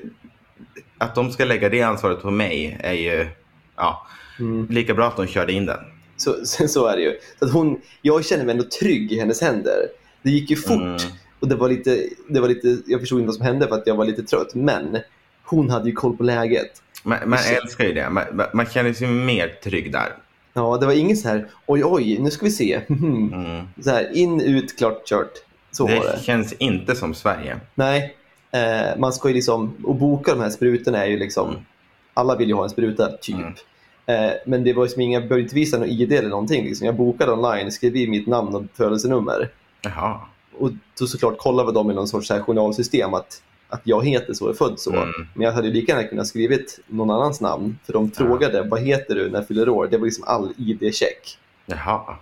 S2: att de ska lägga det ansvaret på mig är ju ja,
S1: Mm.
S2: lika bra att de körde in den.
S1: Så, så, så är det ju. Så att hon, jag känner mig ändå trygg i hennes händer. Det gick ju fort
S2: Mm.
S1: och det var lite, det var lite, jag förstod inte vad som hände för att jag var lite trött. Men hon hade ju koll på läget.
S2: Man, man
S1: Precis.
S2: älskar ju det. Man, man- man känner sig mer trygg där.
S1: Ja, det var ingen så här, oj, oj, nu ska vi se. Hmm.
S2: Mm.
S1: Så här, in, ut, klart, kört. Så var
S2: Det
S1: det.
S2: känns inte som Sverige.
S1: Nej, eh, man ska ju liksom, och boka de här sprutorna är ju liksom,
S2: Mm.
S1: alla vill ju ha en spruta, typ.
S2: Mm.
S1: Eh, men det var ju som inga, behövde inte visa någon ID eller någonting. Liksom. Jag bokade online, skrev i mitt namn och födelsenummer.
S2: Jaha.
S1: Och då såklart kollade de i någon sorts så här journalsystem att, att jag heter så och är född så.
S2: Mm.
S1: Men jag hade ju lika gärna kunnat skrivit någon annans namn. För de frågade, vad heter du när jag fyller år? Det var liksom all ID-check.
S2: Jaha.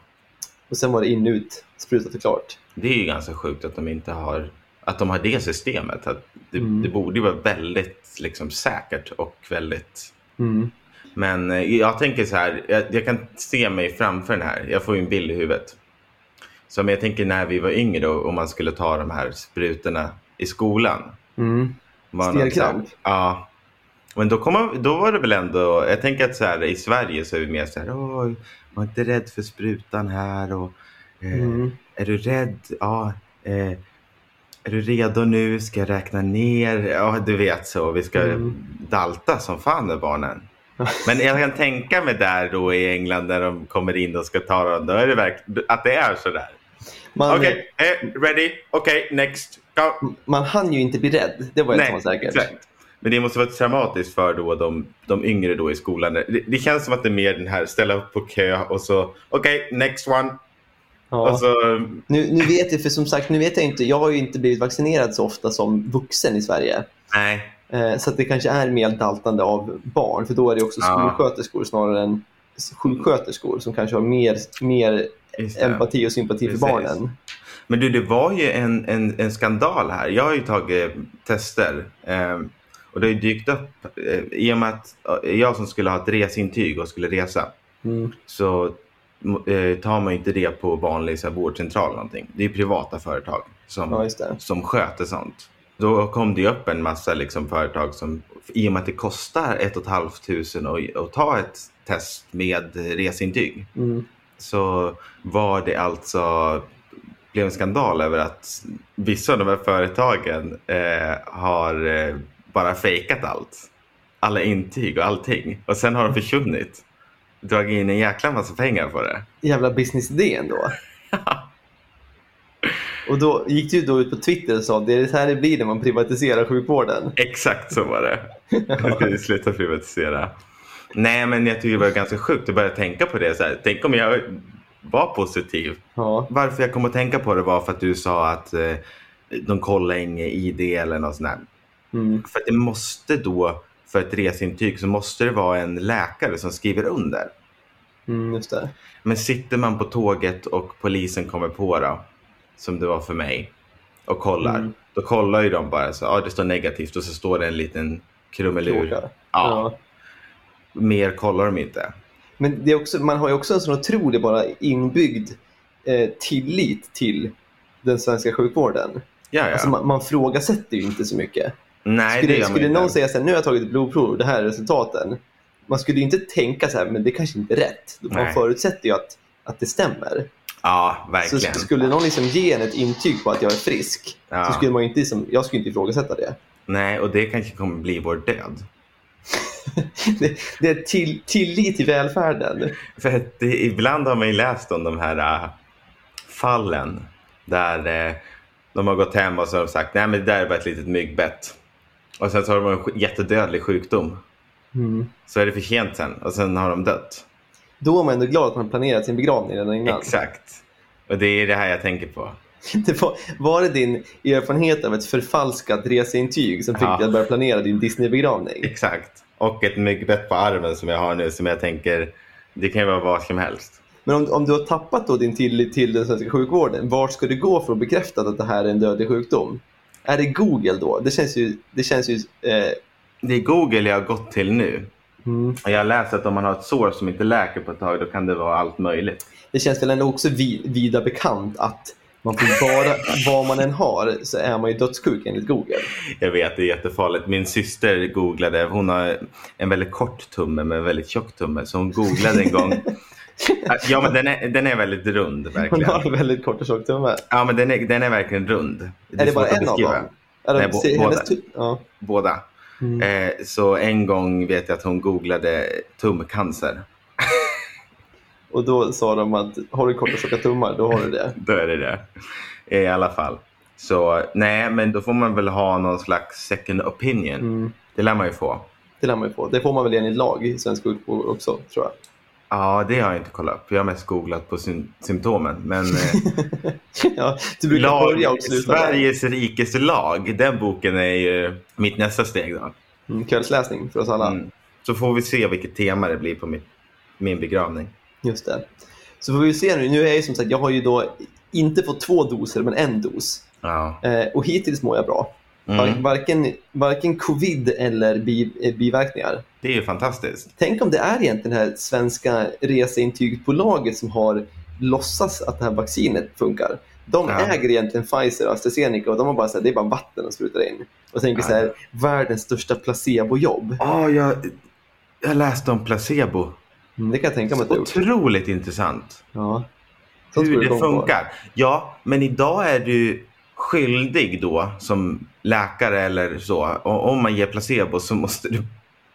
S1: Och sen var det in, ut, spruta förklart.
S2: Det är ju ganska sjukt att de inte har att de har det systemet. Att det,
S1: Mm.
S2: det borde ju vara väldigt liksom, säkert och väldigt
S1: Mm.
S2: Men eh, jag tänker så här, jag, jag kan se mig framför den här. Jag får ju en bild i huvudet. Som jag tänker när vi var yngre och, och man skulle ta de här sprutorna i skolan.
S1: Mm.
S2: Var någon
S1: Stelkramp?
S2: så här- Ja. Men då, kom, man- då var det väl ändå, jag tänker att så här, i Sverige så är vi mer så här, Oj, var inte rädd för sprutan här och eh,
S1: Mm.
S2: är du rädd? Ja. Eh, är du redo nu? Ska jag räkna ner? Ja, du vet så. Vi ska
S1: Mm.
S2: dalta som fan med barnen. Men jag kan tänka mig där då i England när de kommer in och ska ta dem. Då är det verkligen att det är så där.
S1: Man,
S2: Okej, eh, ready? Okej, next. Go.
S1: man hann ju inte bli rädd. Det var jag som var säkert.
S2: exakt. Men det måste vara traumatiskt för då de, de yngre då i skolan. Det, det känns som att det är mer den här ställa upp på kö och så okej, next one.
S1: Ja.
S2: Och så,
S1: Nu, nu vet jag, för som sagt, nu vet jag inte. Jag har ju inte blivit vaccinerad så ofta som vuxen i Sverige.
S2: nej,
S1: Eh, så att det kanske är mer daltande av barn. För då är det också
S2: Ja.
S1: skolsköterskor snarare än sjuksköterskor som kanske har mer, mer
S2: just det.
S1: empati och sympati
S2: Precis.
S1: för barnen.
S2: Men du, det var ju en, en, en skandal här. Jag har ju tagit tester eh, och det har ju dykt upp eh, i och med att eh, jag som skulle ha ett reseintyg och skulle resa
S1: Mm.
S2: så eh, tar man ju inte det på vanlig så här, vårdcentral eller någonting. Det är ju privata företag som,
S1: Ja, just det.
S2: som sköter sånt. Då kom det ju upp en massa liksom, företag som i och med att det kostar ett och ett halvt tusen att, att ta ett test med reseintyg
S1: Mm.
S2: så var det alltså blev en skandal över att vissa av de här företagen eh, har eh, bara fejkat allt. Alla intyg och allting. Och sen har de försvunnit. Dragit in en jäkla massa pengar på det.
S1: Jävla businessidé ändå. och då gick du då ut på Twitter och sa det är det här det blir när man privatiserar sjukvården.
S2: Exakt så var det. Jag skulle sluta privatisera. Nej, men jag tycker det var ganska sjukt att börja tänka på det. Så här, tänk om jag var positiv.
S1: Ja.
S2: Varför jag kom att tänka på det var för att du sa att eh, de kollar inget ID eller något sånt där.
S1: Mm.
S2: För att det måste då, för ett reseintyg, så måste det vara en läkare som skriver under.
S1: Mm, just det.
S2: Men sitter man på tåget och polisen kommer på då, som det var för mig, och kollar.
S1: Mm.
S2: Då kollar ju de bara så, ja ah, det står negativt och så står det en liten krumelur.
S1: Fråga.
S2: Ja, mer kollar de inte.
S1: Men det är också, man har ju också en sån otrolig bara inbyggd eh, tillit till den svenska sjukvården.
S2: Ja, ja.
S1: Alltså man, man frågasätter ju inte så mycket.
S2: Nej, det
S1: skulle
S2: gör man
S1: skulle
S2: inte.
S1: någon säga så här, nu har jag tagit ett blodprov, det här är resultaten. Man skulle ju inte tänka så här, men det kanske inte är rätt. Man
S2: Nej.
S1: förutsätter ju att, att det stämmer.
S2: Ja,
S1: Så
S2: verkligen.
S1: sk- skulle någon liksom ge en ett intyg på att jag är frisk,
S2: Ja.
S1: så skulle man ju inte, liksom, jag skulle inte ifrågasätta det.
S2: Nej, och det kanske kommer bli vår död.
S1: det, det är till, tillit till välfärden.
S2: För att det, ibland har man ju läst om de här äh, fallen där äh, de har gått hem och så har de sagt nej men det där är bara ett litet myggbett. Och sen så har de en sj- jättedödlig sjukdom.
S1: Mm.
S2: Så är det för sent sen och sen har de dött.
S1: Då är man ändå glad att man planerat sin begravning redan innan.
S2: Exakt. Och det är det här jag tänker på.
S1: Det var, var det din erfarenhet av ett förfalskat reseintyg som fick
S2: Ja.
S1: dig att börja planera din Disney-begravning?
S2: Exakt. Och ett myggbett på armen som jag har nu som jag tänker det kan ju vara vad som helst.
S1: Men om, om du har tappat då din tillit till den svenska sjukvården, vart ska du gå för att bekräfta att det här är en dödlig sjukdom? Är det Google då? Det känns ju... Det känns ju eh,
S2: Det är Google jag har gått till nu.
S1: mm.
S2: Och Jag har läst att om man har ett sår som inte läker på ett tag då kan det vara allt möjligt.
S1: Det känns väl ändå också vi, vida bekant att man får bara, vad man än har så är man ju dödssjuk enligt Google.
S2: Jag vet, det är jättefarligt. Min syster googlade, hon har en väldigt kort tumme men en väldigt tjock tumme. Så hon googlade en gång. Ja, men den är, den är väldigt rund
S1: Man
S2: verkligen.
S1: har en väldigt kort och tjock tumme.
S2: Ja, men den är, den är verkligen rund.
S1: Är det
S2: svårt
S1: bara
S2: att
S1: en av
S2: beskriva.
S1: dem? Är det,
S2: Nej, bo-
S1: se- hennes
S2: båda.
S1: tu- ja.
S2: Båda.
S1: Mm.
S2: Eh, så en gång vet jag att hon googlade tumcancer.
S1: Och då sa de att har du kort och tjocka tummar, då har du det.
S2: Då är det det. I alla fall. Så nej, men då får man väl ha någon slags second opinion.
S1: Mm.
S2: Det lär man ju få.
S1: Det lär man ju på. Det får man väl enligt lag i svensk sjukvård också, tror jag.
S2: Ja, det har jag inte kollat upp. Jag har mest googlat på syn- symptomen. Men eh,
S1: ja, du brukar börja
S2: lag,
S1: och sluta. där.
S2: Sveriges rikes lag, den boken är ju mitt nästa steg. Då.
S1: Mm, kvällsläsning för oss alla.
S2: Mm. Så får vi se vilket tema det blir på min, min begravning.
S1: Just det. Så får vi se nu. Nu är jag ju som sagt, jag har ju då inte fått två doser, men en dos.
S2: Ja.
S1: Eh, och hittills mår jag bra. Var-
S2: Mm.
S1: Varken, varken covid eller bi, eh, biverkningar.
S2: Det är ju fantastiskt.
S1: Tänk om det är egentligen det här svenska reseintygsbolaget som har låtsas att det här vaccinet funkar. De
S2: Ja.
S1: äger egentligen Pfizer och AstraZeneca och de har bara sagt det är bara vatten de sprutar in. Och tänker
S2: Ja.
S1: så här, världens största placebojobb.
S2: Ja, jag, jag läste om placebo.
S1: Mm, det kan jag tänka mig att det har gjort.
S2: Otroligt intressant.
S1: Ja. Sånt
S2: Hur
S1: borde
S2: det
S1: de få.
S2: funkar. Ja, men idag är du skyldig då som läkare eller så. Och om man ger placebo så måste du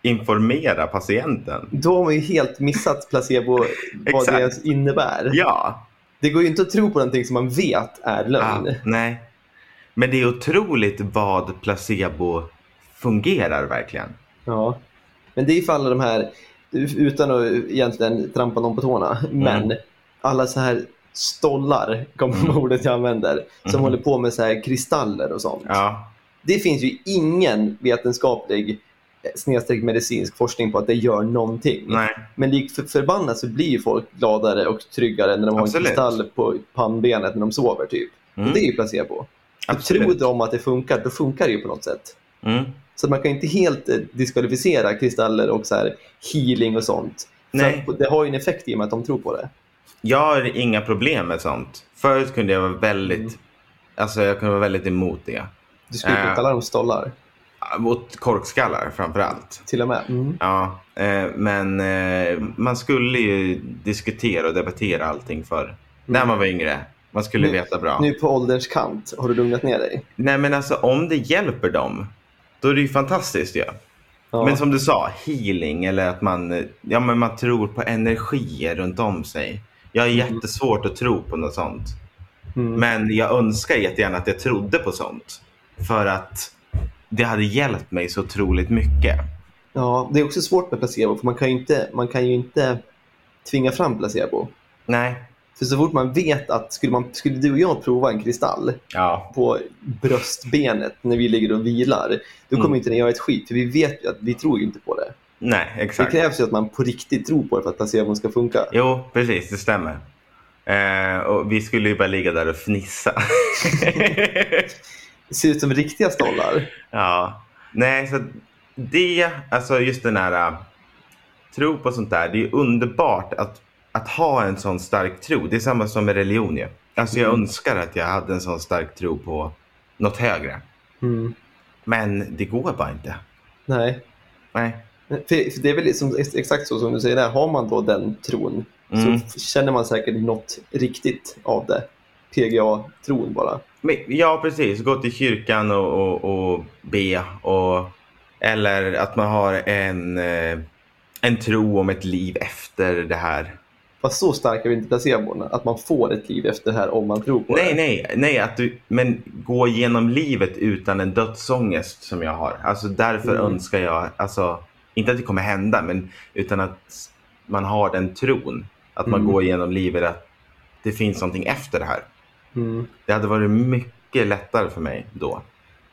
S2: informera patienten.
S1: Då har man ju helt missat placebo, vad det
S2: Exakt.
S1: ens innebär.
S2: Ja,
S1: Det går ju inte att tro på någonting som man vet är
S2: Ah,
S1: lögn.
S2: nej. Men det är otroligt vad placebo fungerar verkligen.
S1: Ja. Men det är ifall alla de här, utan att egentligen trampa någon på tårna, men alla så här stollar, kommer
S2: Mm.
S1: ordet jag använder, som
S2: Mhm.
S1: håller på med så här kristaller och sånt.
S2: Ja.
S1: Det finns ju ingen vetenskaplig eh, snedstreck medicinsk forskning på att det gör någonting.
S2: Nej.
S1: Men lik för- förbannat så blir ju folk gladare och tryggare när de har
S2: Absolut.
S1: en kristall på pannbenet när de sover. typ.
S2: Mm.
S1: Och Det är ju placebo. Och
S2: Absolut.
S1: Tror de att det funkar, då funkar det ju på något sätt.
S2: Mm.
S1: Så man kan inte helt eh, diskvalificera kristaller och så här healing och sånt.
S2: Nej.
S1: För att det har ju en effekt i och med att de tror på det.
S2: Jag har inga problem med sånt. Förut kunde jag vara väldigt,
S1: Mm.
S2: alltså jag kunde vara väldigt emot det.
S1: Du skulle kunna
S2: Äh.
S1: kalla dem stollar
S2: Mot korkskallar framför allt.
S1: till och med. Mm.
S2: Ja, eh, men eh, man skulle ju diskutera och debattera allting förr. När man var yngre. Man skulle
S1: Nu-
S2: veta bra.
S1: Nu på ålderns kant, har du lugnat ner dig?
S2: Nej men alltså om det hjälper dem, då är det ju fantastiskt ju.
S1: Ja.
S2: Men som du sa, healing eller att man, eh, ja, men man tror på energier runt om sig. Jag har jättesvårt att tro på något sånt.
S1: Mm.
S2: Men jag önskar jättegärna att jag trodde på sånt. För att det hade hjälpt mig så otroligt mycket.
S1: ja, det är också svårt med placebo, för man kan ju inte, man kan ju inte tvinga fram placebo.
S2: Nej,
S1: För så fort man vet att skulle, man, skulle du och jag prova en kristall
S2: Ja,
S1: på bröstbenet när vi ligger och vilar, då kommer
S2: Mm.
S1: inte den göra ett skit. För vi vet ju att vi tror ju inte på det.
S2: nej,
S1: Det
S2: exakt.
S1: krävs ju att man på riktigt tror på det för att placebon ska funka.
S2: Jo, precis, det stämmer. Eh, och vi skulle ju bara ligga där och fnissa.
S1: Det ser ut som riktiga stollar.
S2: Ja. Nej, så det, alltså just den här äh, tro på sånt där. Det är underbart att, att ha en sån stark tro. Det är samma som med religion ju. Alltså jag
S1: Mm.
S2: önskar att jag hade en sån stark tro på något högre.
S1: Mm.
S2: Men det går bara inte.
S1: Nej.
S2: Nej.
S1: För, för det är väl liksom ex- exakt så som du säger, där. har man då den tron
S2: Mm.
S1: så f- känner man säkert något riktigt av det. PGA-tron bara.
S2: Men, ja, precis. Gå till kyrkan och, och, och be. Och, eller att man har en, eh, en tro om ett liv efter det här.
S1: Fast så stark är vi inte placebon, att man får ett liv efter det här om man tror på
S2: Nej,
S1: det.
S2: nej, nej. Att du, men gå igenom livet utan en dödsångest som jag har. Alltså därför
S1: Mm.
S2: önskar jag, alltså, inte att det kommer hända, men utan att man har den tron. Att man
S1: Mm.
S2: går igenom livet att det finns någonting efter det här.
S1: Mm.
S2: Det hade varit mycket lättare för mig då.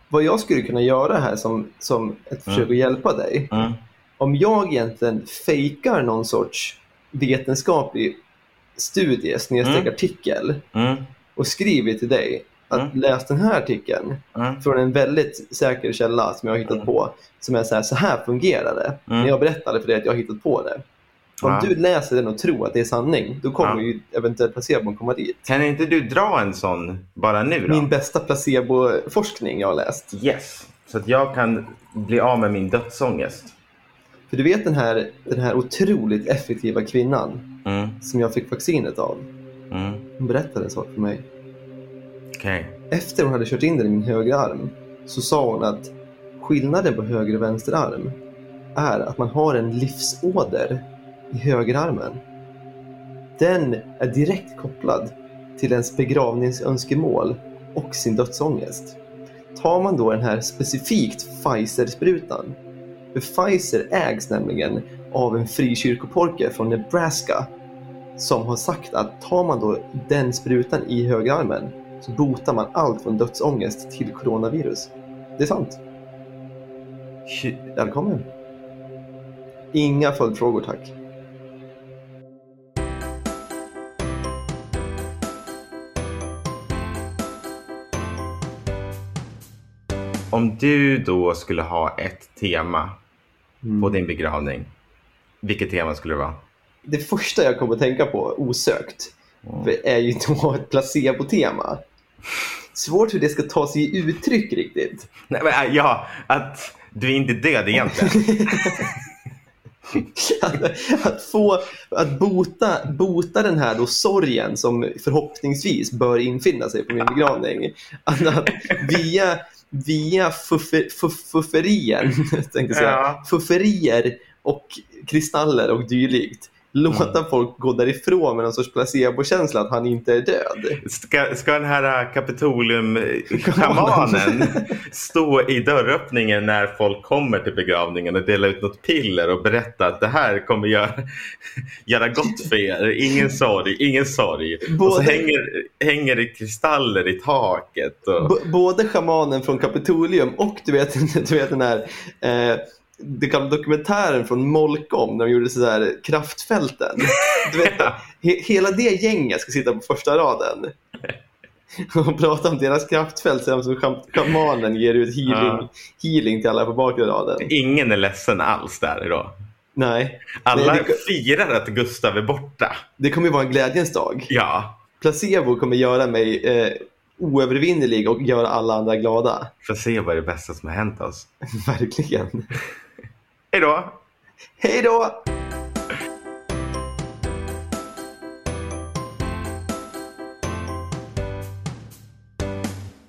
S1: Vad jag skulle kunna göra här som, som ett försök
S2: Mm.
S1: att hjälpa dig,
S2: Mm.
S1: om jag egentligen fejkar någon sorts vetenskaplig studie, snedstreck
S2: Mm.
S1: artikel
S2: Mm.
S1: och skriver till dig att
S2: Mm.
S1: läs den här artikeln
S2: Mm.
S1: från en väldigt säker källa som jag har hittat
S2: Mm.
S1: på. Som är så här, så här fungerar det.
S2: Mm.
S1: När jag berättade för dig att jag har hittat på det. Om
S2: Ja.
S1: du läser den och tror att det är sanning, då kommer
S2: Ja.
S1: ju eventuellt placebon komma dit.
S2: Kan inte du dra en sån bara nu då?
S1: Min bästa placeboforskning jag har läst.
S2: Yes. Så att jag kan bli av med min dödsångest.
S1: För du vet den här, den här otroligt effektiva kvinnan
S2: Mm.
S1: som jag fick vaccinet av.
S2: Mm.
S1: Hon berättade en sak för mig.
S2: Okej.
S1: Efter hon hade kört in den i min högra arm så sa hon att skillnaden på höger och vänster arm är att man har en livsåder i högerarmen. Den är direkt kopplad till ens begravningsönskemål och sin dödsångest. Tar man då den här specifikt Pfizer-sprutan, för Pfizer ägs nämligen av en frikyrkoporke från Nebraska som har sagt att tar man då den sprutan i högerarmen så botar man allt från dödsångest till coronavirus. Det är sant.
S2: Tju-
S1: Välkommen. Inga följdfrågor tack.
S2: Om du då skulle ha ett tema på din begravning, vilket tema skulle det vara?
S1: Det första jag kommer att tänka på osökt är ju då ett placebo-tema. Svårt hur det ska ta sig i uttryck riktigt.
S2: Nej, men, äh, ja, att du är inte är död egentligen.
S1: Att, att, få, att bota, bota den här då sorgen som förhoppningsvis bör infinna sig på min begravning. Att, att via via fuffer, fuff, fufferien, tänkte jag säga,
S2: Ja.
S1: fufferier och kristaller och dylikt låta folk gå därifrån med någon sorts placebokänsla att han inte är död.
S2: Ska, ska den här äh, Kapitolium-schamanen stå i dörröppningen när folk kommer till begravningen och dela ut något piller och berätta att det här kommer göra, göra gott för er. Ingen sorg, ingen sorg. Och så
S1: Både-
S2: hänger, hänger det kristaller i taket. Och...
S1: B- både schamanen från Kapitolium och du vet, du vet den här eh, det kan dokumentären från Molkom när de gjorde så här kraftfälten. Du vet, he, hela det gänget ska sitta på första raden och prata om deras kraftfält sedan som scham- schamanen ger ut healing,
S2: Ja.
S1: healing till alla på bakre raden.
S2: Ingen är ledsen alls där idag.
S1: Nej,
S2: Alla
S1: Nej, det-
S2: firar att Gustav är borta.
S1: det kommer ju vara en glädjens dag.
S2: Ja,
S1: Placebo kommer göra mig eh, oövervinnerlig och göra alla andra glada.
S2: får se vad det bästa som har hänt oss.
S1: Verkligen.
S2: Hej då!
S1: Hej då!